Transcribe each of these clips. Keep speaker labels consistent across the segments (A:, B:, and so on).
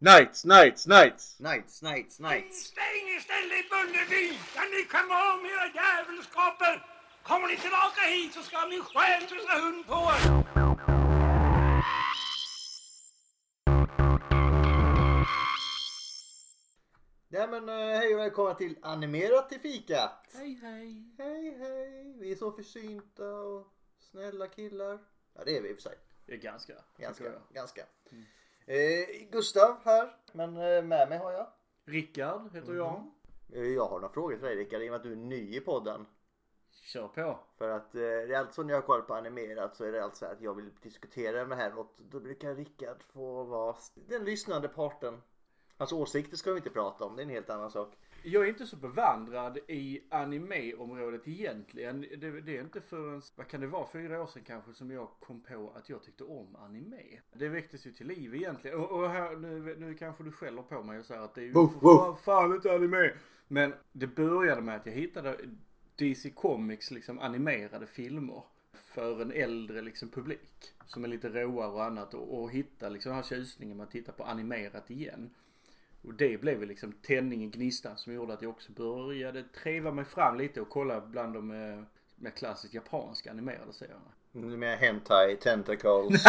A: Knights, Knights, Knights!
B: Knights, Knights, Knights.
C: Stäng istället Bullerby, där ni kan vara om era djävulskaper! Kommer ni tillbaka hit så ska min själ tussa hund på er!
B: Ja men eh, hej och välkomna till Animerat till fikat.
A: Hej hej!
B: Hej hej. Vi är så försynta och snälla killar. Ja det är vi i och för sig.
D: Det är ganska. tycker
B: Ganska.
D: jag. Mm.
B: ganska. Eh, Gustav här. Men eh, med mig har jag.
D: Rickard heter jag.
B: Eh, Jag har några frågor till dig Rickard i och med att du är ny i podden.
D: Kör på.
B: För att eh, det är alltid så när jag kollar på animerat så är det alltså att jag vill diskutera med här något. Då brukar Rickard få vara den lyssnande parten. Hans åsikter ska vi inte prata om, det är en helt annan sak.
D: Jag är inte så bevandrad i anime-området egentligen. Det, det är inte förrän, vad kan det vara, fyra år sedan kanske som jag kom på att jag tyckte om anime. Det väcktes ju till liv egentligen. Och, och här, nu, nu kanske du skäller på mig och säger att det är ju
B: Woof,
D: för
B: woof.
D: Fan, fan inte anime. Men det började med att jag hittade DC Comics liksom animerade filmer för en äldre liksom publik som är lite råare och annat och, och hitta liksom den här tjusningen med att titta på animerat igen. Och det blev ju liksom tändningen, gnistan som gjorde att jag också började treva mig fram lite och kolla bland de eh, mer klassiskt japanska animerade serierna.
B: Du menar Hentai, Tentacles.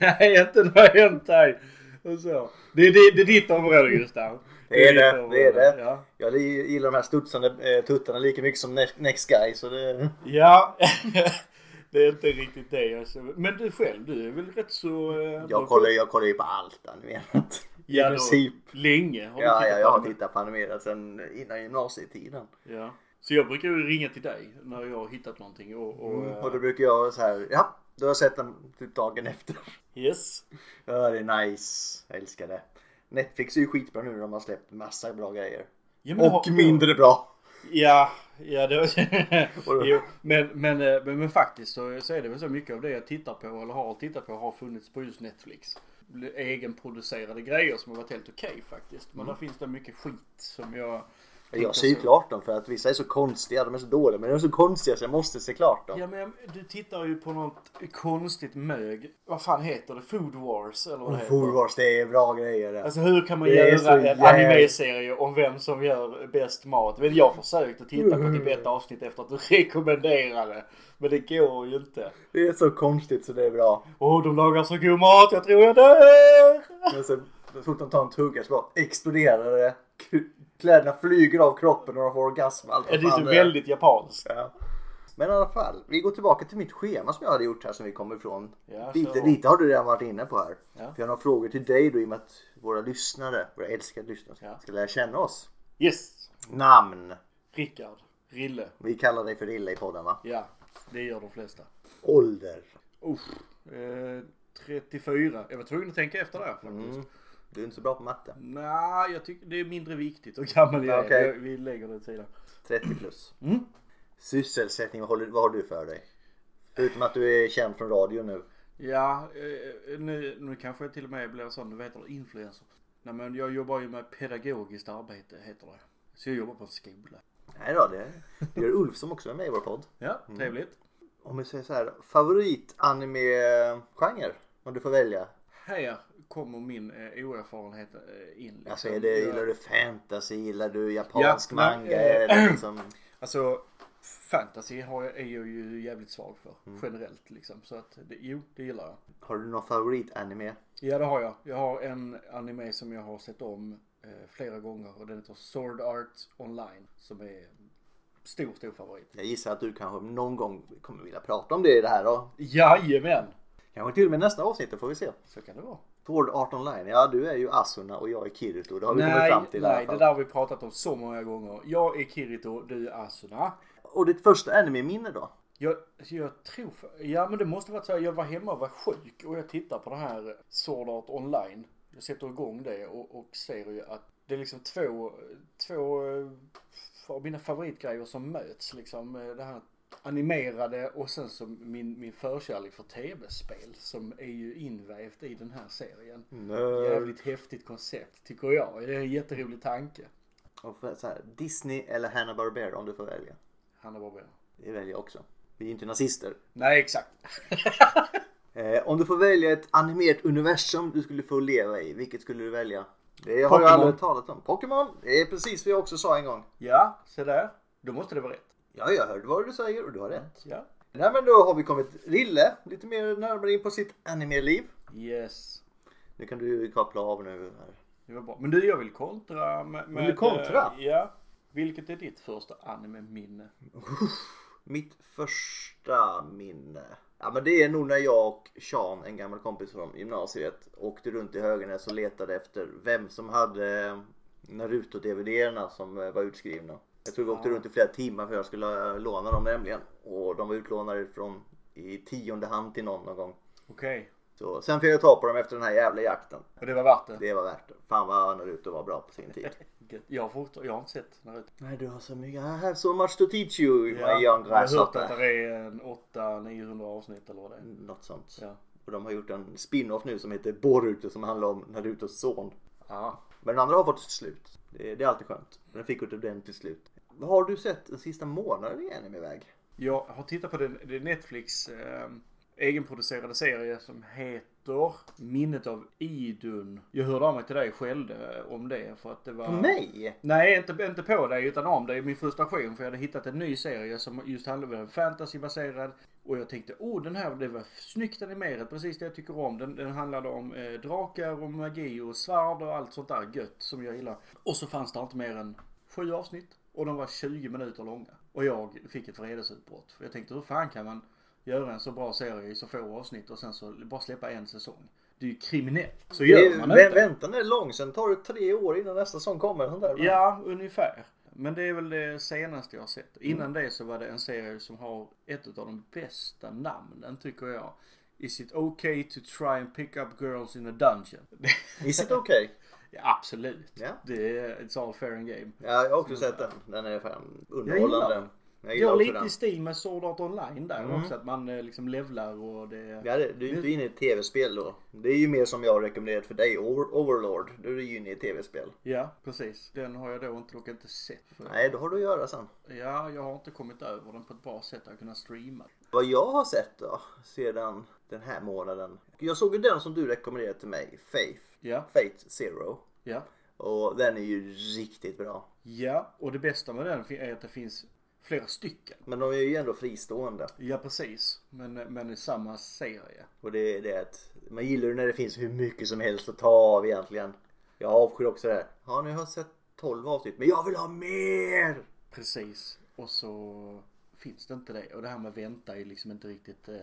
D: Nej, inte några hentai! Och så. Det, är- det, det är ditt område Gustav.
B: Det är
D: ditt
B: det, det är
D: område,
B: det.
D: Ja.
B: Jag gillar de här studsande eh, tuttarna lika mycket som Ne- Next Guy så det...
D: Ja, det är inte riktigt det. Alltså. Men du själv, du är väl rätt så... eh,
B: Jag kollar, jag kollar ju på allt animerat.
D: Ja,
B: I
D: då.
B: princip.
D: Länge har du
B: Ja, ja, jag har
D: på det.
B: tittat på animerat sedan innan gymnasietiden.
D: Ja. Så jag brukar ju ringa till dig när jag har hittat någonting och... och,
B: Mm,
D: eh,
B: och då brukar jag så här, ja, då har jag sett den typ dagen efter.
D: Yes.
B: Ja, det är nice. Jag älskar det. Netflix är ju skitbra nu. De har släppt massa bra grejer.
D: Ja, men
B: Och
D: har-
B: mindre bra.
D: Ja, ja det jo, men, men, eh, men, men faktiskt så, så är det väl så mycket av det jag tittar på eller har tittat på har funnits på just Netflix. Egenproducerade grejer som har varit helt okej faktiskt. Men
B: Mm.
D: där finns det mycket skit som jag...
B: Jag ser ju klart dem för att vissa är så konstiga. De är så dåliga. Men de är så konstiga så jag måste se klart dem.
D: Ja men du tittar ju på något konstigt mög. Vad fan heter det? Food Wars eller vad det
B: Och
D: heter?
B: Mm, Food Wars, det är bra grejer det.
D: Alltså hur kan man
B: Det är så
D: göra en
B: jävla-
D: anime-serie om vem som gör bäst mat? Men jag försökte titta på typ
B: Mm.
D: ett avsnitt efter att du rekommenderade. Men det går ju inte.
B: Det är så konstigt så det är bra.
D: Åh, de lagar så god mat, jag tror jag dör!
B: Men sen, så fort de tar en tugga så bara exploderar det. K- Kläderna flyger av kroppen och de får orgasm. Allt
D: Det
B: vad
D: är så
B: fan är.
D: väldigt japanskt.
B: Ja. Men i alla fall, vi går tillbaka till mitt schema som jag hade gjort här som vi kommer ifrån.
D: Ja,
B: lite,
D: kör.
B: lite har du redan varit inne på här.
D: Ja.
B: För jag har några frågor till dig då i och med att våra lyssnare, våra älskade lyssnare,
D: Ja.
B: ska lära känna oss.
D: Yes!
B: Namn.
D: Rickard. Rille.
B: Vi kallar dig för Rille i podden va?
D: Ja, det gör de flesta.
B: Ålder.
D: Usch. Eh, 34. Jag var tvungen att tänka efter där faktiskt.
B: Du är inte så bra på matte.
D: Nej, jag tycker det är mindre viktigt hur gammal jag är.
B: Okej.
D: Jag- Vi lägger det åt sidan.
B: 30 plus.
D: Mm.
B: Sysselsättning, vad, håller, vad har du för dig? Förutom att du är känd från radio nu.
D: Ja, eh, nu, nu kanske jag till och med blir sån, vad heter det, influencer. Nej men jag jobbar ju med pedagogiskt arbete, heter det. Så jag jobbar på en skola.
B: Nej då, det, det gör Ulf som också är med i vår podd.
D: Ja, trevligt.
B: Om vi säger så här, favoritanime-genre? Om du får välja.
D: Här kommer min eh, oerfarenhet eh, in. Liksom.
B: Alltså är det,
D: Jag-
B: gillar du fantasy? Gillar du japansk
D: Ja, men,
B: manga?
D: eh,
B: Eller liksom,
D: Alltså, fantasy har jag, är jag ju jävligt svag för.
B: Mm.
D: Generellt liksom. Så att, det, jo, det gillar jag.
B: har du någon favoritanime?
D: Ja, det har jag. Jag har en anime som jag har sett om eh, flera gånger och den heter Sword Art Online. Som är stor, stor favorit.
B: Jag gissar att du kanske någon gång kommer vilja prata om det i det här då.
D: Jajamän!
B: Kanske till och med nästa avsnitt, det får vi se.
D: Så kan det vara.
B: Sword Art Online, ja du är ju Asuna och jag är Kirito. Det har vi kommit
D: Nej,
B: fram till i
D: nej,
B: alla
D: det
B: fall.
D: där har vi pratat om så många gånger. Jag är Kirito, du är Asuna.
B: Och ditt första anime-minne då?
D: Jag, alltså, jag tror, för- ja men det måste varit så här, jag var hemma och var sjuk och jag tittar på det här Sword Art Online. Jag sätter igång det och, och ser ju att det är liksom två, två eh, av mina favoritgrejer som möts liksom. Eh, Det här animerade och sen så min, min förkärlek för tv-spel som är ju invävt i den här serien. Jävligt häftigt koncept tycker jag. Det är en jätterolig tanke.
B: Och för- så här, Disney eller Hanna-Barbera om du får välja.
D: Hanna Barbera.
B: Det väljer jag också. Vi är ju inte nazister.
D: Nej exakt.
B: Eh, om du får välja ett animerat universum du skulle få leva i, vilket skulle du välja? Det har
D: Pokémon.
B: jag aldrig talat om. Pokémon! Det är precis vad jag också sa en gång.
D: Ja, se där. Då måste det vara rätt.
B: Ja, jag hörde vad du säger och du har rätt.
D: Ja.
B: Nej, men då har vi kommit Rille lite mer närmare in på sitt anime-liv.
D: Yes.
B: Nu kan du koppla av nu. Här.
D: Det var bra. Men du, jag vill kontra med... med
B: Vill du kontra?
D: eh, Ja. Vilket är ditt första anime-minne?
B: Mitt första minne. Ja men det är nog när jag och Sean, en gammal kompis från gymnasiet, åkte runt i Höganäs och letade efter vem som hade Naruto-DVD-erna som eh, var utskrivna. Jag tror vi åkte runt i flera timmar för jag skulle eh, låna dem nämligen. Och de var utlånade från i tionde hand till någon någon gång.
D: Okej.
B: Så, sen fick jag ta på dem efter den här jävla jakten.
D: Och det var värt det?
B: Det var värt det. Fan vad Naruto var bra på sin tid.
D: Gött. Jag har, fort, jag har inte sett Naruto.
B: Nej du har så mycket. I have so much to teach you my
D: Ja,
B: young
D: jag har hört
B: grasshopper.
D: att det är en 800-900 avsnitt eller vad det är.
B: Något sånt.
D: Ja.
B: Och de har gjort en spin-off nu som heter Boruto som handlar om Narutos son.
D: Ah.
B: Men den andra har fått ett slut. Det, det är alltid skönt. Men den fick ett ordentligt slut. Vad har du sett den sista månaden i animeväg?
D: Jag har tittat på den, det är Netflix eh, egenproducerade serie som heter Minnet av Idun. Jag hörde av mig till dig och skällde om det för att det var...
B: På mig?
D: Nej, inte, inte på dig utan om dig. Min frustration för jag hade hittat en ny serie som just handlade om en fantasybaserad. Och jag tänkte, oh den här, det var snyggt animerat, precis det jag tycker om. Den, den handlade om eh, drakar och magi och svärd och allt sånt där gött som jag gillar. Och så fanns det inte mer än sju avsnitt. Och de var 20 minuter långa. Och jag fick ett vredesutbrott. För jag tänkte, hur fan kan man göra en så bra serie i så få avsnitt och sen så bara släppa en säsong? Det är ju kriminellt. Så gör man
B: Vä-
D: inte.
B: Väntan är lång, sen tar det tre år innan nästa sång kommer. Sånt där.
D: Ja, ungefär. Men det är väl det senaste jag har sett.
B: Mm.
D: Innan det så var det en serie som har ett av de bästa namnen tycker jag. Is it okay to try and pick up girls in a dungeon?
B: Is it okay?
D: ja, absolut.
B: Ja.
D: Det är, it's all fair and game.
B: Ja, jag har också sett den. Den är fan
D: Jag
B: underhållande.
D: gillar den.
B: Jag
D: Går
B: gillar också
D: lite
B: den. Mm.
D: i stil med Sword Art Online där också. Att man eh, liksom levlar och det...
B: Ja, det, du är ju inte inne i ett tv-spel då. Det är ju mer som jag rekommenderat för dig, Over- Overlord. Då är du ju inne i ett tv-spel.
D: Ja, precis. Den har jag då inte, dock inte sett. För...
B: Nej, då har du att göra sen.
D: Ja, jag har inte kommit över den på ett bra sätt att kunna streama.
B: Vad jag har sett då sedan den här månaden. Jag såg ju den som du rekommenderade till mig, Faith.
D: Ja,
B: Fate Zero.
D: ja.
B: Och den är ju riktigt bra.
D: Ja, och det bästa med den är att det finns flera stycken.
B: Men de är ju ändå fristående.
D: Ja, precis. Men, men i samma serie.
B: Och det är det att man gillar ju när det finns hur mycket som helst att ta av egentligen. Jag avskyr också det här. Ja, nu har jag sett 12 avsnitt, men jag vill ha mer!
D: Precis. Och så finns det inte det. Och det här med vänta är liksom inte riktigt... Eh...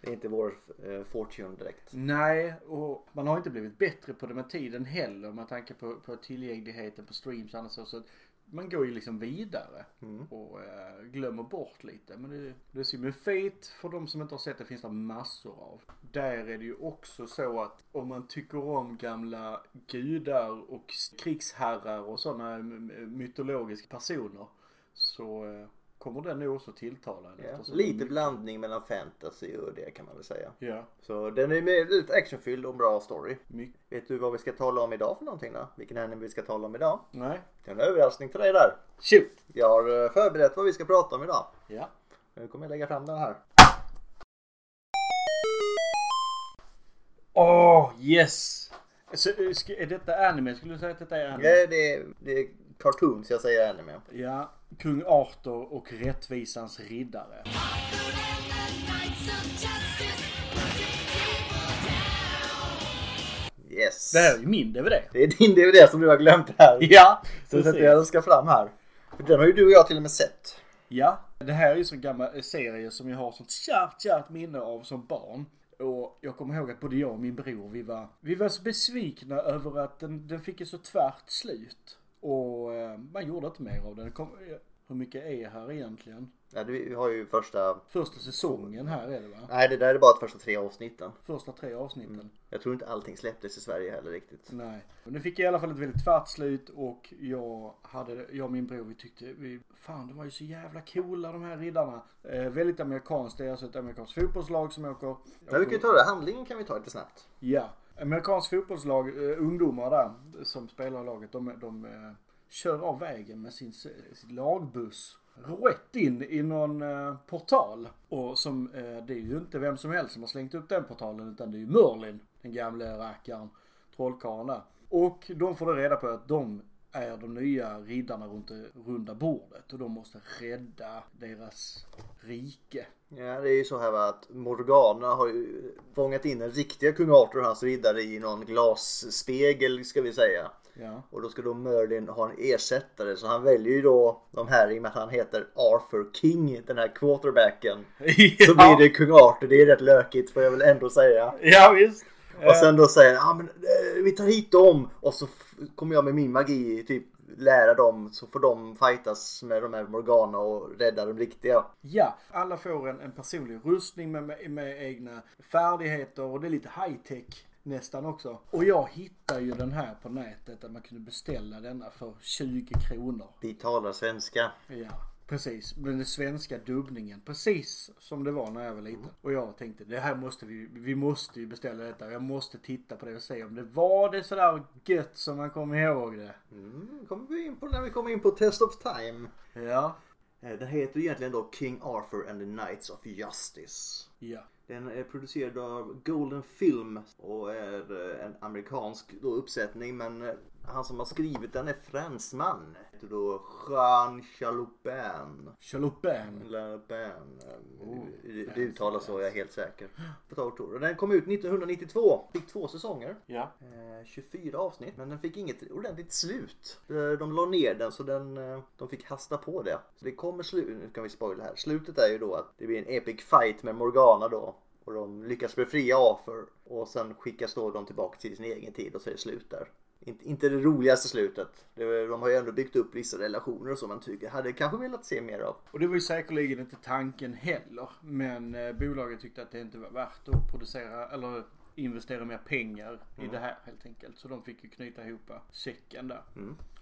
B: Det är inte vår eh, fortune direkt.
D: Nej, och man har inte blivit bättre på det med tiden heller med tanke på, på tillgängligheten på streams och annat så. så att man går ju liksom vidare
B: Mm.
D: och eh, glömmer bort lite. Men det, det är synd. Men Fate, för de som inte har sett det, finns det massor av. Där är det ju också så att om man tycker om gamla gudar och krigsherrar och sådana mytologiska personer så eh, kommer den nog också tilltala en.
B: Ja.
D: eftersom
B: Lite
D: de-
B: blandning mellan fantasy och det kan man väl säga.
D: Ja,
B: Så den är med- väldigt actionfylld och en bra story.
D: mycket.
B: Vet du vad vi ska tala om idag för någonting då? Vilken anime vi ska tala om idag?
D: Nej.
B: Det är en överraskning till dig där.
D: Shoot!
B: Jag har eh, förberett vad vi ska prata om idag.
D: Ja.
B: Nu kommer jag lägga fram den här.
D: Åh, yes! Så, eh, sk- är detta anime? Skulle du säga att detta är anime?
B: Det, Eh, det, det är cartoons jag säger anime.
D: Ja, Kung Arthur och Rättvisans riddare.
B: Yes!
D: Det här är ju min DVD.
B: Det är din DVD som du har glömt här.
D: Ja,
B: Så
D: precis.
B: att jag ska fram här. För Den har ju du och jag till och med sett.
D: Ja, det här är ju så gammal eh, serie som jag har sånt kärt, kärt minne av som barn. Och jag kommer ihåg att både jag och min bror, vi var, vi var så besvikna över att den, den fick ett så tvärt slut. Och eh, man gjorde inte mer av den. Kom, eh, hur mycket är här egentligen?
B: Ja, du har ju första...
D: Första säsongen här är det va?
B: Nej, det där är bara de första tre avsnitten.
D: Första tre avsnitten.
B: Jag tror inte allting släpptes i Sverige heller riktigt.
D: Nej. Men det fick jag i alla fall ett väldigt tvärt slut och jag, hade, jag och min bror vi tyckte, vi, fan de var ju så jävla coola de här riddarna. Eh, väldigt amerikanskt, det är alltså ett amerikanskt fotbollslag som åker.
B: Men vi kan ju ta det. Handlingen kan vi ta lite snabbt.
D: Ja, amerikanskt fotbollslag, eh, ungdomar där som spelar i laget, de, de eh, kör av vägen med sin, s- sin lagbuss rätt in i någon eh, portal. Och som, eh, det är ju inte vem som helst som har slängt upp den portalen utan det är ju Merlin, den gamle rackaren, trollkarlen där. Och de får då reda på att de är de nya riddarna runt det runda bordet och de måste rädda deras rike.
B: Ja, det är ju så här va, att Morgana har ju fångat in den riktiga kung Arthur och hans riddare i någon glasspegel ska vi säga.
D: Ja.
B: Och då ska då Merlin ha en ersättare så han väljer ju då de här i och med att han heter Arthur King, den här quarterbacken. Så blir det kung Arthur, det är rätt lökigt får jag väl ändå säga.
D: Ja visst.
B: Och sen då säger han, ah, men eh, vi tar hit dem och så f- kommer jag med min magi typ lära dem så får de fightas med de här Morgana och rädda de riktiga.
D: Ja, alla får en, en personlig rustning med, med, med egna färdigheter och det är lite high-tech nästan också. Och jag hittade ju den här på nätet att man kunde beställa denna för 20 kronor.
B: Vi talar svenska.
D: Ja, precis. Men den svenska dubbningen, precis som det var när jag var liten. Och jag tänkte, det här måste vi, vi måste ju beställa detta. Jag måste titta på det och se om det var det sådär gött som man kommer ihåg det.
B: Mm, kommer vi in på när vi kommer in på Test of Time.
D: Ja,
B: Eh, Den heter egentligen då King Arthur and the Knights of Justice.
D: ja.
B: Den är producerad av Golden Film och är eh, en amerikansk då uppsättning men eh, han som har skrivit den är fransman. Heter då Jean Chalopin.
D: Chalupen.
B: Lapin. det det uttalas så, jag är helt säker. På Tower Tour. Och Den kom ut 1992. Fick två säsonger.
D: Ja.
B: Eh, 24 avsnitt. Men den fick inget ordentligt slut. Eh, De la ner den så den, eh, de fick hasta på det. Så det kommer slut. Nu kan vi spoila här. Slutet är ju då att det blir en epic fight med Morgana då. Och de lyckas befria Arthur. Och sen skickas då de tillbaka till sin egen tid och så är det slut där. Inte, inte det roligaste slutet. Det- De har ju ändå byggt upp vissa relationer och så man tycker. Hade kanske velat se mer av.
D: Och det var ju säkerligen inte tanken heller. Men eh, bolaget tyckte att det inte var värt att producera eller investera mer pengar i det här helt enkelt. Så de fick ju knyta ihop säcken där.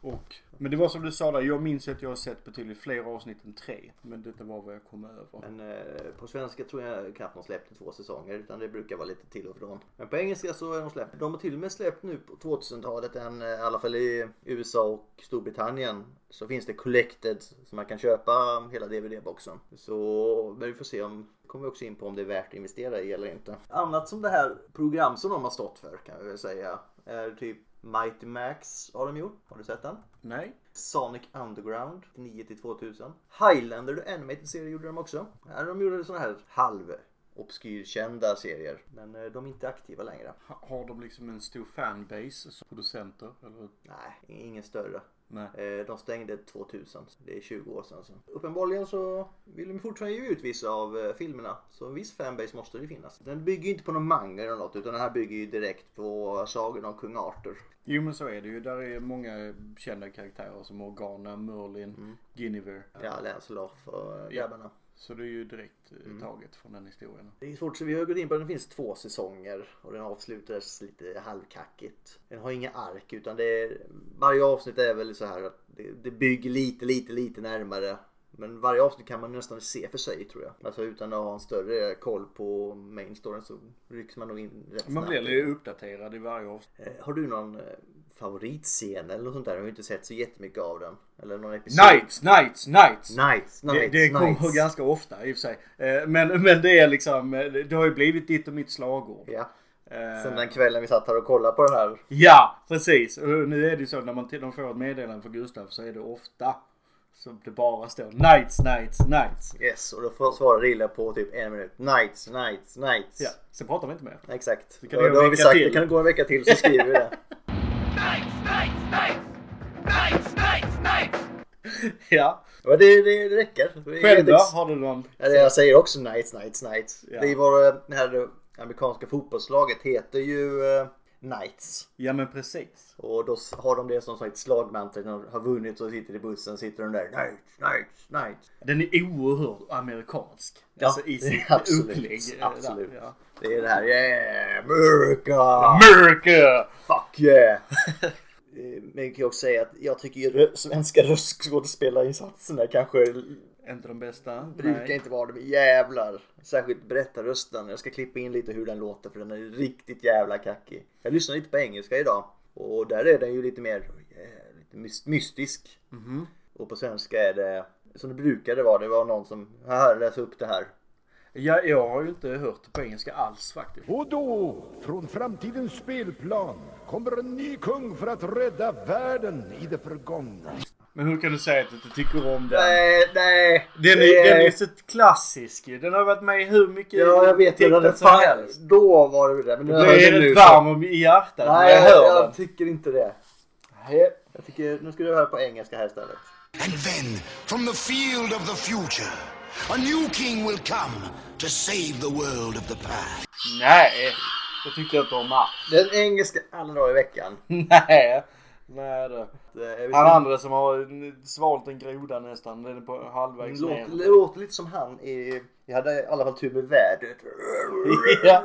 D: Och, men det var som du sa där, jag minns att jag har sett betydligt fler avsnitt än tre. Men detta var vad jag kom över.
B: Men eh, på svenska tror jag knappt de släppte två säsonger utan det brukar vara lite till och från. Men på engelska så är de släppt. De har till och med släppt nu på 2000-talet en, eh, i alla fall i USA och Storbritannien. Så finns det collected som man kan köpa hela DVD-boxen. Så men vi får se om kommer vi också in på om det är värt att investera i eller inte. Annat som det här program som de har stått för kan vi väl säga är typ Mighty Max har de gjort. Har du sett den?
D: Nej?
B: Sonic Underground 9 till 2000. Highlander, The Animated Serie gjorde de också. Ja, de gjorde sådana här halv obskyrkända serier. Men eh, de är inte aktiva längre.
D: Ha- Har de liksom en stor fanbase som producenter? Eller?
B: Nej, ingen större.
D: Nej.
B: Eh, De stängde 2000, så det är 20 år sedan. Så. Uppenbarligen så vill de fortfarande ge ut vissa av eh, filmerna. Så en viss fanbase måste det finnas. Den bygger ju inte på någon manga eller något utan den här bygger ju direkt på sagan om kung Arthur.
D: Jo men så är det ju. Där är många kända karaktärer som Organa, Merlin, Guinevere.
B: Ja, Lancelot och eh,
D: Ja.
B: grabbarna.
D: Så det är ju direkt eh, taget från den historien.
B: Det är svårt, så vi har gått in på att den finns två säsonger och den avslutas lite halvkackigt. Den har inga ark utan det är, varje avsnitt är väl så här att det, det bygger lite, lite, lite närmare. Men varje avsnitt kan man nästan se för sig tror jag. Alltså utan att ha en större koll på main storyn så rycks man nog in rätt
D: Man
B: snabbt.
D: blir ju uppdaterad i varje avsnitt.
B: Eh, Har du någon eh, favoritscen eller något sånt där? Jag har ju inte sett så jättemycket av den. Eller någon episod?
D: Nights, nights, nights!
B: Nights!
D: Det,
B: Nights!
D: det kommer
B: nights.
D: ganska ofta i och för sig. Eh, Men, men det är liksom, eh, det har ju blivit ditt och mitt slagord.
B: Ja.
D: Eh,
B: Sen den kvällen vi satt här och kollade på den här.
D: Ja, precis. Och nu är det ju så när man till, de får ett meddelande från Gustav så är det ofta som det bara står nights, nights, nights.
B: Yes, och då får svara Rille på typ en minut. Nights, nights, nights.
D: Ja, sen pratar vi inte mer.
B: Exakt.
D: kan
B: Då-
D: det gå
B: då har
D: en
B: vi
D: vecka
B: sagt
D: till.
B: det kan gå en vecka till så skriver vi det.
C: Nights, nights, nights! Nights, nights, nights!
D: Ja.
B: Ja, det, det, det räcker. Det är
D: Själv
B: helt
D: då?
B: ex-
D: Har du någon?
B: Ja, det jag säger också nights, nights, nights.
D: Ja.
B: Det var det här amerikanska fotbollslaget heter ju eh, Knights.
D: Ja men precis.
B: Och då s- har de det som sagt slagmantra. När de har vunnit så sitter de i bussen sitter de där Knights, Knights, Knights.
D: Den är oerhört amerikansk.
B: Ja,
D: alltså i sitt
B: absolut,
D: upplägg. eh, där,
B: absolut.
D: ja.
B: Det är det här Yeah, America!
D: America!
B: Fuck yeah! Eh, Men jag kan ju också säga att jag tycker ju rö- svenska röstskådespelarinsatserna kanske
D: Inte de bästa.
B: brukar
D: Nej.
B: inte vara de jävlar. Särskilt berättarrösten. Jag ska klippa in lite hur den låter för den är riktigt jävla kackig. Jag lyssnar lite på engelska idag Mhm. och där är den ju lite mer eh, lite mys- mystisk. Och på svenska är det som det brukade vara. Det var någon som, här läs upp det här.
D: Ja, jag har ju inte hört det på engelska alls faktiskt.
E: Och då, från framtidens spelplan, kommer en ny kung för att rädda världen i det förgångna.
D: Men hur kan du säga att du inte tycker om den?
B: Nej, nej.
D: Den
B: det-
D: är, den är så klassisk ju. Den har varit med i hur mycket
B: Ja, jag vet.
D: dikter
B: Jag hade
D: som
B: fan,
D: helst.
B: då var det det. Men nu
D: Jag
B: hör
D: blir
B: det nu.
D: rätt varm om- i hjärtat när
B: Nej,
D: jag hör
B: jag,
D: den.
B: jag tycker inte det. Jag tycker, nu ska du höra på engelska här istället.
F: And then, from the field of the future, a new king will come to save the world of the past.
D: Nej, det tycker jag inte om alls.
B: Den engelska alla dagar i veckan.
D: Nej. Nej det.
B: Det Eh, är-
D: Han andra som har svalt en groda nästan. Den är på halvvägs
B: låter,
D: ner.
B: låter lite som han i... Jag hade i alla fall tur med vädret.
D: Ja,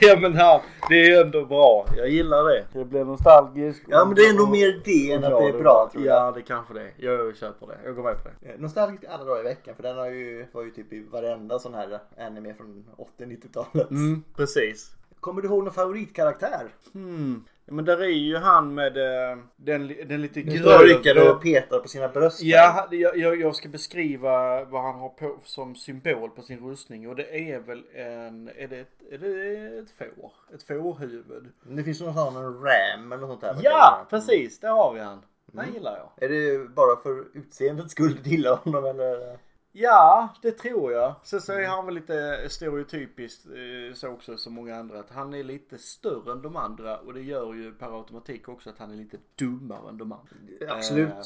D: ja men han, det är ändå bra. Jag gillar det. Det blir nostalgisk.
B: Ja men det är nog mer det än att det är bra tror jag.
D: Ja det kanske det är. Jag köper det. Jag går med på det.
B: Nostalgiskt alla dagar i veckan för den har ju, var ju typ i varenda sån här anime från 80-90-talet.
D: Mm, precis.
B: Kommer du ihåg någon favoritkaraktär?
D: Hmm. Ja, Men där är ju han med eh, den, li- den lite
B: Röker
D: grövre.
B: och petar på sina bröst.
D: Ja, han- jag, jag, jag ska beskriva vad han har på som symbol på sin rustning och det är väl en, är det ett, är det ett får? Ett fårhuvud?
B: Det finns någon sån en ram eller något sånt där.
D: Ja, precis, där har vi han. Den gillar jag.
B: Är det bara för utseendets skull du gillar honom
D: Eh,
B: eller?
D: Ja, det tror jag. Sen så är han väl lite stereotypiskt eh, så också som många andra att han är lite större än de andra och det gör ju per automatik också att han är lite dummare än de andra.
B: Absolut.
D: Eh,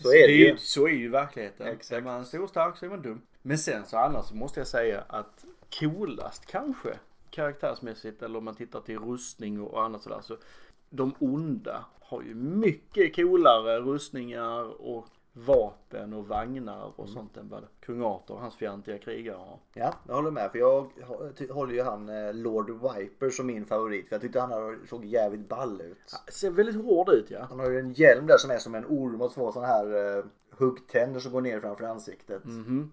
B: så är det ju.
D: Så är ju verkligheten.
B: Exakt.
D: Är man stor och stark så är man dum. Men sen så annars så måste jag säga att coolast kanske karaktärsmässigt eller om man tittar till rustning och annat sådär så de onda har ju mycket coolare rustningar och vapen och vagnar
B: Mm.
D: och sånt än vad kung Arthur och hans fientliga krigare har.
B: Ja, jag håller med. För jag hå- ty- håller ju han eh, Lord Viper som min favorit. För jag tyckte han hade- såg jävligt ball ut.
D: Ser väldigt hård ut ja.
B: Han har ju en hjälm där som är som en orm och två sådana här eh, huggtänder som går ner framför ansiktet.
D: Mm,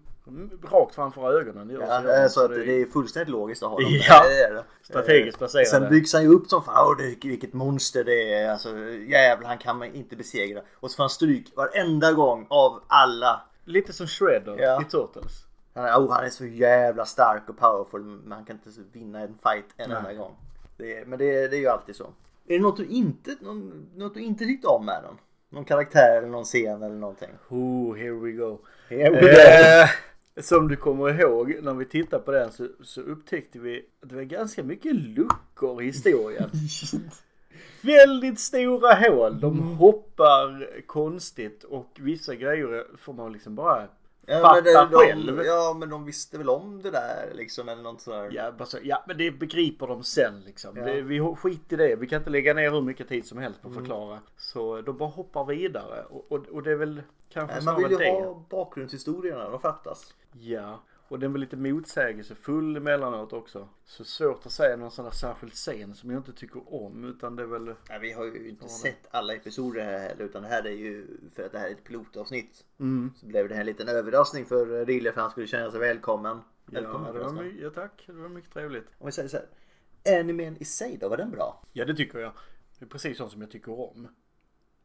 D: Rakt framför ögonen. det gör
B: Ja,
D: sig
B: eh,
D: om,
B: så att
D: det är-
B: det är fullständigt logiskt att ha dem
D: Ja.
B: där. Det är det.
D: Strategiskt
B: Eh,
D: placerade.
B: Sen byggs han ju upp som fan. Åh, det, vilket monster det är. Alltså, jävlar, han kan man inte besegra. Och så får han stryk varenda gång av alla.
D: Lite som Shredder
B: Ja.
D: i Turtles.
B: Han är, oh, han är så jävla stark och powerful men han kan inte vinna en fight en enda gång. Det är, men det, det är ju alltid så. Är det något du inte, någon, något du inte tyckte om med den? Någon karaktär eller någon scen eller någonting?
D: Oh, here we go.
B: Here we go.
D: Eh, som du kommer ihåg när vi tittade på den så, så upptäckte vi att det var ganska mycket luckor i historien. Väldigt stora hål. De
B: Mm.
D: hoppar konstigt och vissa grejer får man liksom bara
B: ja,
D: fatta
B: men det,
D: själv.
B: de, ja men de visste väl om det där liksom eller något sådär.
D: Ja, bara så- ja, men det begriper de sen liksom. Det, vi har- skit i det. Vi kan inte lägga ner hur mycket tid som helst på att
B: Mm.
D: förklara. Så de bara hoppar vidare. Och, och, och det är väl kanske
B: Nej, Man
D: snarare
B: vill ju
D: det.
B: ha bakgrundshistorierna, de fattas.
D: Ja, och den var lite motsägelsefull emellanåt också. Så svårt att säga någon sån där särskild scen som jag inte tycker om utan det är väl...
B: Nej, vi har ju inte sett alla episoder här heller utan det här är ju för att det här är ett pilotavsnitt.
D: Mm.
B: Så blev det här en liten överraskning för Rille för han skulle känna sig välkommen.
D: Ja, det
B: Välkommen
D: var
B: förresten.
D: my- ja tack, det var mycket trevligt.
B: Om vi säger så här. Animen i sig då, var den bra?
D: Ja det tycker jag. Det är precis sånt som jag tycker om.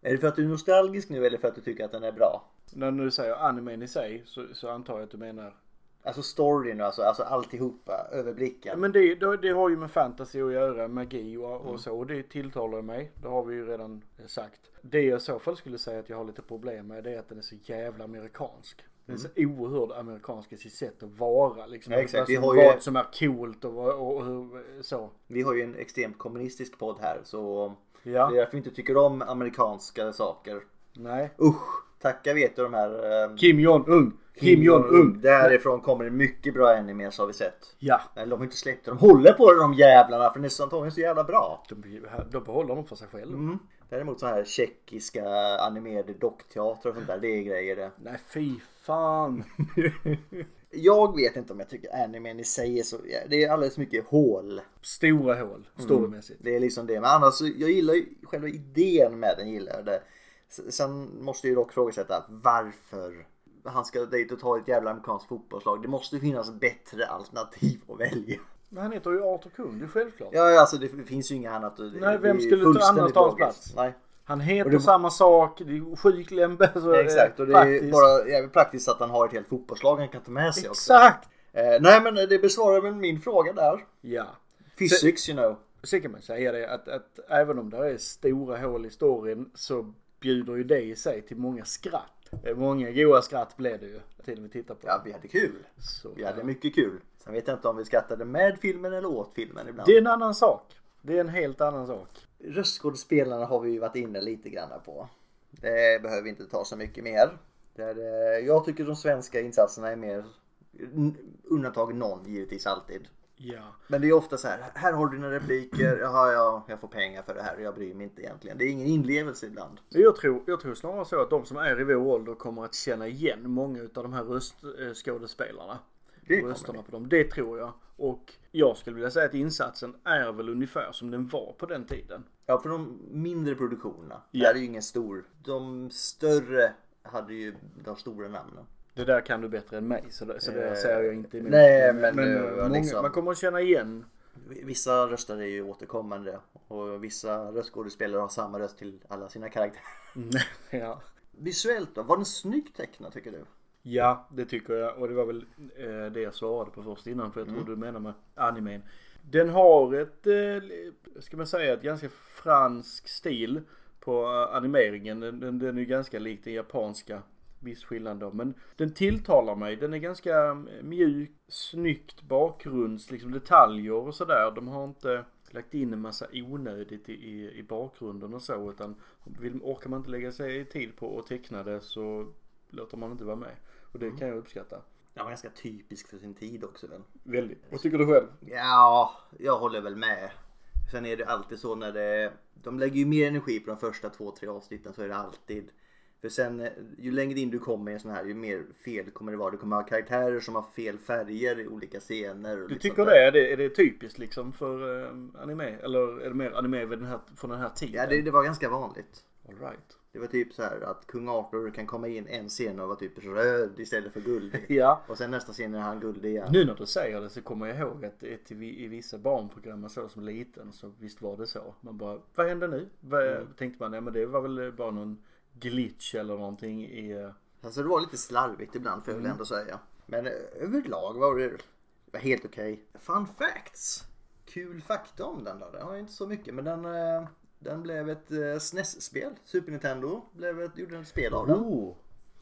B: Är det för att du är nostalgisk nu eller för att du tycker att den är bra?
D: När du säger animen i sig så, så antar jag att du menar...
B: Alltså storyn och alltså, alltså alltihopa, överblicken.
D: Ja, men det, det, det har ju med fantasy att göra, magi och,
B: Mm.
D: och så. Och det tilltalar mig. Det har vi ju redan sagt. Det jag i så fall skulle säga att jag har lite problem med det är att den är så jävla amerikansk. Den är så oerhört amerikansk i sitt sätt att vara. Liksom.
B: Mm. Ja, exakt.
D: Vad,
B: Vi
D: som,
B: har ju-
D: vad som är coolt och, vad- och, och hur, så.
B: Vi har ju en extremt kommunistisk podd här så
D: Ja.
B: det är därför vi inte tycker om amerikanska saker.
D: Nej.
B: Usch! Tacka vet du de här... eh,
D: Kim Jong-Un! Kim Jong-Un!
B: Därifrån kommer det mycket bra animes har vi sett.
D: Ja.
B: Eller de har inte släppt det. De håller på det de jävlarna för den är så antagligen så jävla bra.
D: De, de behåller dem för sig själva.
B: Mm. Däremot så här tjeckiska animerade dockteater och sånt där, det är grejer det.
D: Nej fy fan!
B: Jag vet inte om jag tycker animen i sig är så... Det är alldeles mycket hål.
D: Stora hål,
B: Mm.
D: storymässigt.
B: Det är liksom det. Men annars, så- jag gillar ju själva idén med den. Gillar jag det. S- Sen måste jag ju dock frågasätta varför han ska dit och ta ett jävla amerikanskt fotbollslag. Det måste finnas bättre alternativ att välja.
D: Men han heter ju Arthur Kung, det är självklart.
B: Ja, alltså det finns ju inget annat. och Det,
D: Nej, vem
B: det är
D: skulle ta-
B: fullständigt
D: annars ta hans
B: logiskt.
D: plats?
B: Nej.
D: Han heter
G: Och det-
D: samma sak, det är sjuk lämbe. Så
B: Exakt, och det är ju
D: eh, praktiskt.
B: bara jävligt praktiskt att han har ett helt fotbollslag han kan ta med sig också.
D: Exakt!
B: Eh, nej men det besvarar väl min fråga där.
D: Ja.
B: Physics you know.
D: Sen kan man säga det att, att även om det är stora hål i storyn så bjuder ju det i sig till många skratt. Eh, Många goa skratt blev det ju. Tiden vi tittar på.
B: Ja, vi hade kul.
D: Så,
B: Vi hade mycket kul. Sen vet jag inte om vi skrattade med filmen eller åt filmen ibland.
D: Det är en annan sak. Det är en helt annan sak.
B: Röstskådespelarna har vi ju varit inne lite grann på. Det behöver vi inte ta så mycket mer. Där, eh, jag tycker de svenska insatserna är mer n- undantag någon givetvis alltid.
D: Ja.
B: Men det är ofta så här, här har du dina repliker, jaha ja, jag får pengar för det här och jag bryr mig inte egentligen. Det är ingen inlevelse ibland.
D: Jag tror, jag tror snarare så att de som är i vår ålder kommer att känna igen många av de här röstskådespelarna.
B: Det kommer
D: Rösterna på dem. Det tror jag. Och jag skulle vilja säga att insatsen är väl ungefär som den var på den tiden.
B: Ja, för de mindre produktionerna,
D: Ja.
B: där är ju ingen stor. De större hade ju de stora namnen.
D: Det där kan du bättre än mig så det, så det säger jag inte emot.
B: nej, men det
D: eh,
B: var
D: många,
B: liksom-
D: man kommer att känna igen.
B: Vissa röster är ju återkommande och vissa röstskådespelare har samma röst till alla sina karaktärer.
D: ja.
B: Visuellt då? Var den snyggt tecknad tycker du?
D: ja, det tycker jag. Och det var väl eh, det jag svarade på först innan för jag tror du menar med animen. Den har ett, eh, ska man säga, ett ganska fransk stil på eh, animeringen. Den, den, den är ju ganska lik den japanska. Viss skillnad då. Men den tilltalar mig. Den är ganska eh, mjuk, snyggt bakgrunds, liksom detaljer och sådär. De har inte lagt in en massa onödigt i, i, i bakgrunden och så. Utan vill, orkar man inte lägga sig tid på att teckna det så låter man inte vara med. Och
B: Mm.
D: det kan jag uppskatta.
B: Den var ganska typisk för sin tid också den.
D: Väldigt. Vad tycker du själv?
B: Ja, jag håller väl med. Sen är det alltid så när det... De lägger ju mer energi på de första två, tre avsnitten så är det alltid. För sen, eh, ju längre in du kommer i en sån här, ju mer fel kommer det vara. Du kommer ha karaktärer som har fel färger i olika scener. och liksom
D: Du
B: lite
D: tycker
B: sånt
D: det?
B: där.
D: Är det, är det typiskt liksom för eh, anime? Eller är det mer anime vid den här, från den här tiden?
B: Ja, det, det var ganska vanligt.
D: All right.
B: Det var typ så här att kung Arthur kan komma in en scen och vara typ röd istället för guldig.
D: Ja.
B: Och sen nästa scen är han guldig igen.
D: Nu när du säger det så kommer jag ihåg att det är till vi- i vissa barnprogram och så som liten så visst var det så. Man bara, vad hände nu? Vad,
B: Mm.
D: Tänkte man, ja men det var väl bara någon glitch eller någonting i... eh,
B: Alltså det var lite slarvigt ibland får jag väl ändå säga. Men eh, överlag var det det var helt okej. Fun facts! Kul fakta om den då. Den har ju inte så mycket men den, eh, den blev ett eh, SNES-spel. Super Nintendo blev ett, gjorde ett spel av den.
D: Oh,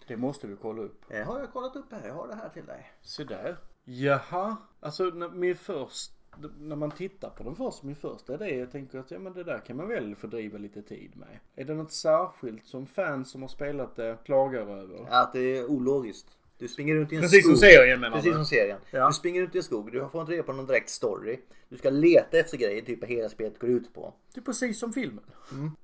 D: det måste vi kolla upp.
B: Eh, Har jag kollat upp här? Jag har det här till dig.
D: Så där. Jaha. Alltså när, min först, när man tittar på den först, min första idé, jag tänker att ja, men det där kan man väl fördriva lite tid med. Är det något särskilt som fans som har spelat det klagar över?
B: Att det är ologiskt. Du springer runt i en
D: Precis som
B: skog.
D: serien menar
B: Precis
D: du?
B: som serien.
D: Ja.
B: Du springer runt i en skog, du får inte reda på någon direkt story. Du ska leta efter grejer, typ vad hela spelet går ut på.
D: Det är precis som filmen.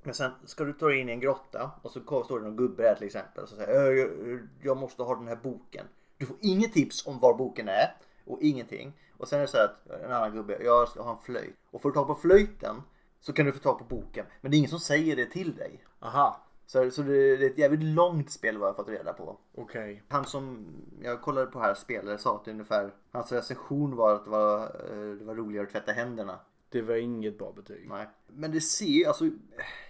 B: Men sen ska du ta dig in i en grotta och så kom- står det någon gubbe där till exempel och så säger "Ö, jag, jag måste ha den här boken. Du får inget tips om var boken är och ingenting. Och sen är det så här att en annan gubbe, jag ska ha en flöjt. Och får du tag på flöjten så kan du få tag på boken. Men det är ingen som säger det till dig.
D: Aha,
B: Så, så det, det är ett jävligt långt spel vad jag har fått reda på.
D: okej.
B: Han som jag kollade på här spelare sa att ungefär hans recension var att det var, eh, det var roligare att tvätta händerna.
D: Det var inget bra betyg.
B: Nej. Men det ser ju, alltså.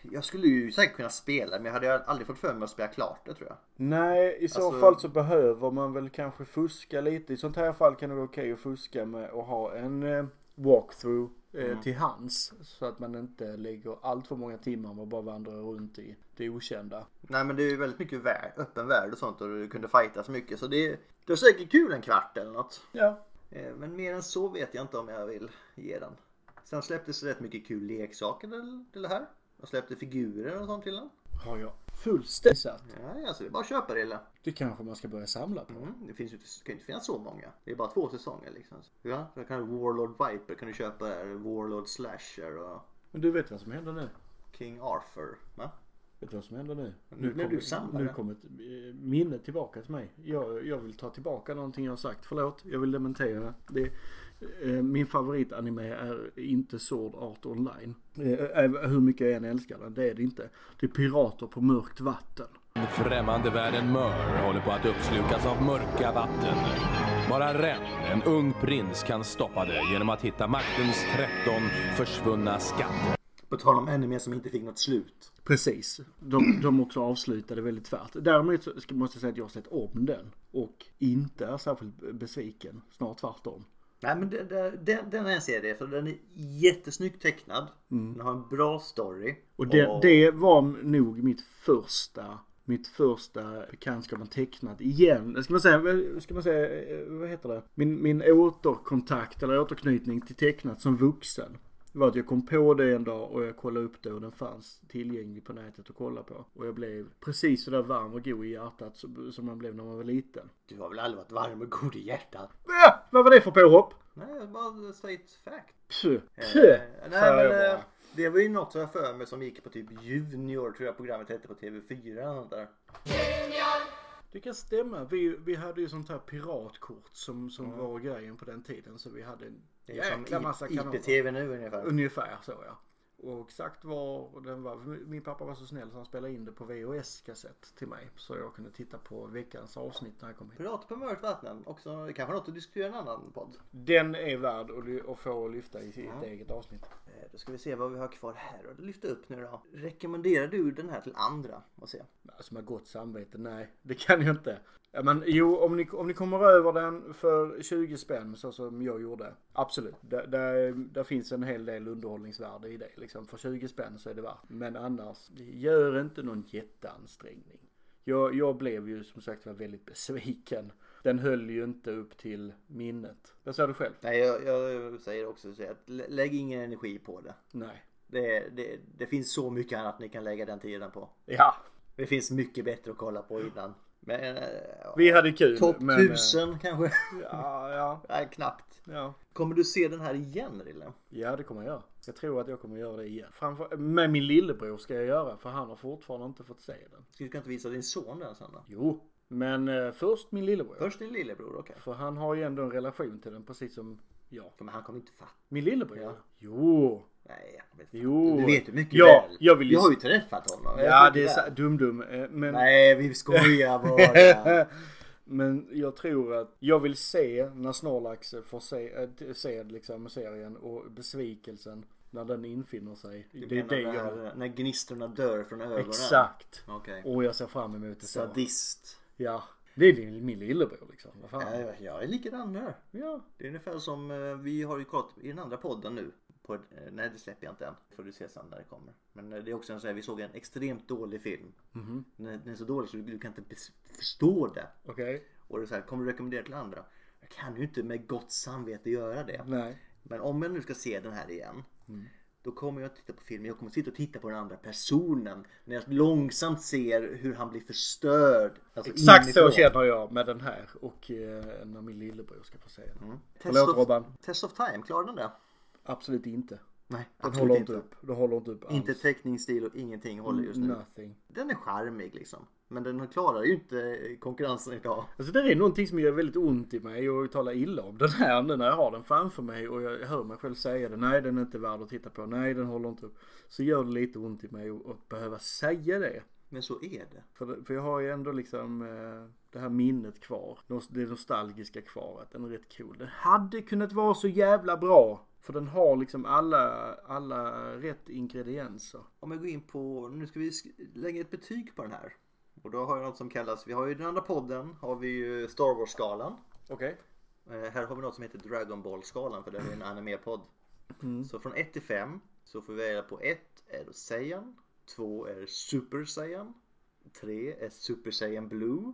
B: Jag skulle ju säkert kunna spela men jag hade ju aldrig fått för mig att spela klart det tror jag.
D: Nej, i så
B: Alltså-
D: fall så behöver man väl kanske fuska lite. I sånt här fall kan det vara okej att fuska med och ha en eh, walkthrough eh,
B: Mm.
D: till hands. Så att man inte lägger allt för många timmar och bara vandrar runt i det okända.
B: Nej men det är ju väldigt mycket värld, öppen värld och sånt och du kunde fightas mycket så det, det var säkert kul en kvart eller något.
D: Ja.
B: Eh, Men mer än så vet jag inte om jag vill ge den. Sen släpptes rätt mycket kul leksaker till- till det här. De släppte figurer och sånt till den.
D: Har jag fullständigt satt.
B: Nej, alltså det är bara att köpa det eller?
D: Det kanske man ska börja samla på.
B: Mm, det finns ju inte, det kan ju inte finnas så många. Det är bara två säsonger liksom. Ja, då kan du Warlord Viper kan du köpa där. Warlord Slasher och
D: Men du vet vad som händer nu?
B: King Arthur. Va?
D: Vet du vad som händer nu?
B: Nu blir du samlare.
D: nu kommer ett eh, minne tillbaka till mig. Jag, jag vill ta tillbaka någonting jag har sagt. Förlåt, jag vill dementera. Det, eh, min favoritanime är inte Sword Art Online. Eh, eh, hur mycket jag än älskar den, det är det inte. Det är Pirater på mörkt vatten.
H: Främmande världen Mör håller på att uppslukas av mörka vatten. Bara Ren, en ung prins, kan stoppa det genom att hitta maktens 13 försvunna skatter.
B: På tal om ännu mer som inte fick något slut.
D: Precis. De, de också avslutade väldigt tvärt. Däremot så ska- måste jag säga att jag har sett om den och inte är särskilt besviken. Snarare tvärtom.
B: Nej men det- det- den, den här serien, för den är jättesnyggt tecknad. Den har en bra story.
D: Och det, det var nog mitt första mitt första bekantskap med tecknat igen. Ska man säga, ska man säga eh, vad heter det? Min, min återkontakt eller återknytning till tecknat som vuxen. var att jag kom på det en dag och jag kollade upp det och den fanns tillgänglig på nätet att kolla på. Och jag blev precis så där varm och god i hjärtat som som man blev när man var liten.
B: Du har väl aldrig varit varm och god i hjärtat?
D: Ja, vad var det för påhopp?
B: Nej, jag bara straight fact.
D: Pö, pö,
B: Eh, nej,
D: sa jag
B: men,
D: bara.
B: eh, det var ju något som jag för mig som gick på typ Junior tror jag programmet hette på TV4 eller något där.
D: Det kan stämma. Vi, vi hade ju sånt här piratkort som, som var grejen på den tiden. Så vi hade en
B: Det är
D: jäkla massa
B: som I-
D: kanaler.
B: IPTV nu ungefär.
D: Ungefär så ja. Och exakt var den var. Min pappa var så snäll så han spelade in det på VHS-kassett till mig. Så jag kunde titta på veckans avsnitt när jag kom hit.
B: Pirater på mörkt vatten. Också kanske något att diskutera i en annan podd.
D: Den är värd att ly- att få lyfta i sitt eget avsnitt.
B: Eh, Då ska vi se vad vi har kvar här och lyfta upp nu då. Rekommenderar du den här till andra? Och se.
D: Alltså med gott samvete, nej det kan jag inte. Ja, men jo, om ni, om ni kommer över den för 20 spänn så som jag gjorde. Absolut, där, där, där finns en hel del underhållningsvärde i det. Liksom. För 20 spänn så är det värt. Men annars, gör inte någon jätteansträngning. Jag, jag blev ju som sagt var väldigt besviken. Den höll ju inte upp till minnet. Vad sa du själv?
B: Nej, jag, jag säger också så att lä- lägg ingen energi på det.
D: Nej.
B: Det, det. det finns så mycket annat ni kan lägga den tiden på.
D: Ja,
B: Det finns mycket bättre att kolla på innan. Men, eh,
D: vi hade kul.
B: Topp
D: men, eh,
B: 1000 kanske?
D: Ja, ja,
B: Nej, knappt.
D: ja.
B: Kommer du se den här igen Rille?
D: Ja, det kommer jag göra. Jag tror att jag kommer göra det igen. Framför, med min lillebror ska jag göra, för han har fortfarande inte fått se den.
B: Ska du inte visa din son den sen då?
D: Jo, men eh, först min lillebror.
B: Först din lillebror, okej.
D: För han har ju ändå en relation till den, precis som jag.
B: Men han kommer inte fatta.
D: Min lillebror? Jo.
B: Nej, han kommer inte fatta.
D: Jo.
B: Du vet ju mycket
D: ja,
B: väl.
D: Jag vill ju...
B: Du har ju träffat honom. Jag
D: Ja,
B: vet
D: det är
B: mycket
D: så-
B: väl.
D: dum-dum. eh, Men...
B: Nej, vi skojar bara.
D: Men jag tror att jag vill se när Snorlax får se, äh, se liksom serien och besvikelsen när den infinner sig.
B: Du
D: det är
B: menar
D: det jag...
B: när, när gnistrorna dör från ögonen?
D: Exakt.
B: Okej.
D: Och jag ser fram emot det så.
B: Sadist.
D: Ja, det är din, min lillebror liksom. Vad fan.
B: Ja, jag- jag är likadan med.
D: Ja.
B: Det är ungefär som eh, vi har ju kollat i den andra podden nu. På, eh, nej det släpper jag inte än. Får du se sen när det kommer. Men eh, det är också en sån här, vi såg en extremt dålig film.
D: Mhm.
B: Den, är, den är så dålig så du, du kan inte bes- förstå det.
D: Okej.
B: Och det är så här, kommer du rekommendera till andra? Jag kan ju inte med gott samvete göra det.
D: Nej. Mm.
B: Men om jag nu ska se den här igen. Då kommer jag att titta på filmen. Jag kommer sitta och titta på den andra personen. När jag långsamt ser hur han blir förstörd. Alltså
D: Exakt så
B: inifrån.
D: känner jag med den här och eh, när min lillebror ska få se den.
B: Test
D: Förlåt
B: of,
D: Robban.
B: Test of Time, klarar den det?
D: Absolut inte.
B: Nej,
D: Den
B: absolut
D: håller
B: inte.
D: inte upp. Den håller inte upp alls.
B: Inte teckningsstil och ingenting håller just nu.
D: Nothing.
B: Den är charmig liksom. Men den klarar ju inte konkurrensen idag.
D: Alltså det är någonting som gör väldigt ont i mig och talar illa om den här nu när jag har den framför mig och jag hör mig själv säga det. Nej den är inte värd att titta på. Nej den håller inte upp. Så gör det lite ont i mig att- att behöva säga det.
B: Men så är det.
D: För, för jag har ju ändå liksom eh, det här minnet kvar. Nos- Det nostalgiska kvar. Att den är rätt cool. Den hade kunnat vara så jävla bra. För den har liksom alla, alla rätt ingredienser.
B: Om jag går in på, nu ska vi sk- lägga ett betyg på den här. Och då har jag något som kallas, vi har ju den andra podden, har vi ju Star Wars-skalan.
D: Okej.
B: Eh, här har vi något som heter Dragon Ball-skalan för det är ju en anime-podd. Så från 1 till 5 så får vi välja på 1 är Saiyan, 2 är Super Saiyan, 3 är Super Saiyan Blue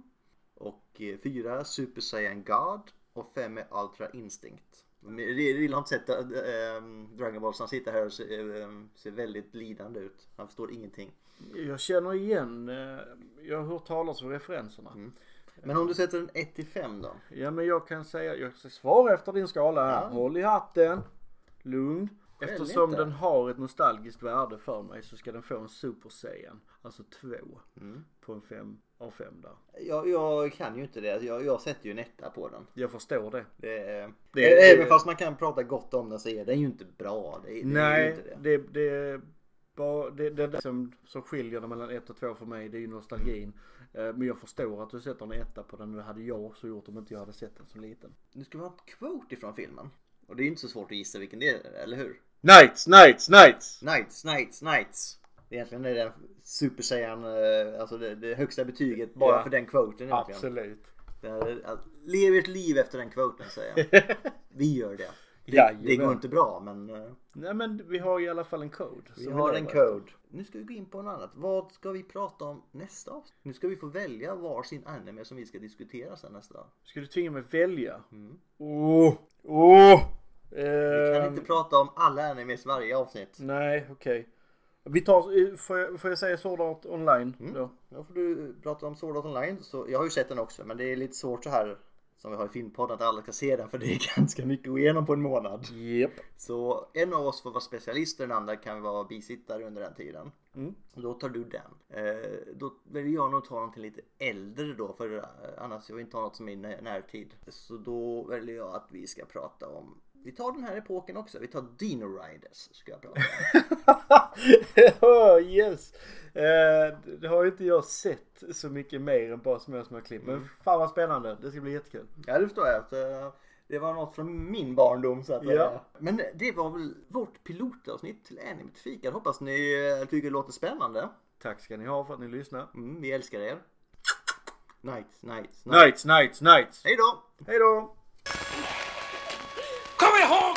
B: och 4 Super Saiyan God och 5 är Ultra Instinct. Men Jag gillar inte sätta äh, Dragon Ball så han sitter här och ser, ehm, ser väldigt lidande ut. Han förstår ingenting.
D: Jag känner igen. Eh, jag har hört talas om referenserna.
B: Men om du sätter en 1 till 5 då?
D: Ja men jag kan säga. Jag ska svara efter din skala här. Håll i hatten. Lugn. Eftersom
B: inte.
D: den har ett nostalgiskt värde för mig så ska den få en super saiyan. Alltså två. På en fem av fem där.
B: Jag, jag kan ju inte det. Jag, jag sätter ju en etta på den.
D: Jag förstår det.
B: Det är,
D: Det är-
B: även fast man kan prata gott om den så är den ju inte bra. Det, är- det är ju
D: Nej,
B: inte det.
D: det, det, bara- det, det, det som, som skiljer det mellan 1 och 2 för mig det är ju nostalgin. Eh, Men jag förstår att du sätter en etta på den. Det hade jag också gjort om inte jag hade sett den som liten.
B: Nu ska vi ha ett quote ifrån filmen. Och det är ju inte så svårt att gissa vilken det är, eller hur?
D: Knights, knights, knights!
B: Knights, Knights, Knights. Egentligen är det Super Saiyan, eh, alltså det, det högsta betyget bara
D: Ja.
B: för den quoten egentligen.
D: Absolut.
B: Det är, att, lev ert liv efter den quoten säger jag. Vi gör det. Det, det går inte bra men eh,
D: Nej men vi har i alla fall en code.
B: vi
D: som
B: har en
D: lever
B: code. Nu ska vi gå in på något annat. Vad ska vi prata om nästa avsnitt? Nu ska vi få välja varsin anime som vi ska diskutera sen nästa dag.
D: efter. Ska du tvinga mig välja? Ehm, Åh! Åh!
B: Vi kan
D: Ehm,
B: inte prata om alla animes varje avsnitt.
D: Nej, okej. Vi tar, eh, får jag, får jag säga Sword Art Online då?
B: Då får du prata om Sword Art Online. Så, jag har ju sett den också men det är lite svårt så här som vi har i filmpodden att alla ska se den för det är ganska mycket att gå igenom på en månad.
D: Japp.
B: Så en av oss får vara specialister, den andra kan vara bisittare under den tiden.
D: Mm.
B: Och Då tar du den. Eh, då vill jag nog ta någonting lite äldre då för eh, annars jag vill inte ha något som är i nä- närtid. Så då väljer jag att vi ska prata om vi tar den här epoken också. Vi tar Dino Riders. Ska jag prata om.
D: oh, yes! Eh, det har ju inte jag sett så mycket mer än bara små, små klipp. Men fan vad spännande. Det ska bli jättekul.
B: Ja, det förstår jag. Att, eh, det var något från min barndom så att säga.
D: Ja.
B: Men det var väl vårt pilotavsnitt till Animet Fikar. Hoppas ni eh, tycker det låter spännande.
D: Tack ska ni ha för att ni lyssnar.
B: Mm, vi älskar er. Nights, nights, nights.
D: Nights, nights, nights!
B: Hej då!
D: Hej då!
I: Kom ihåg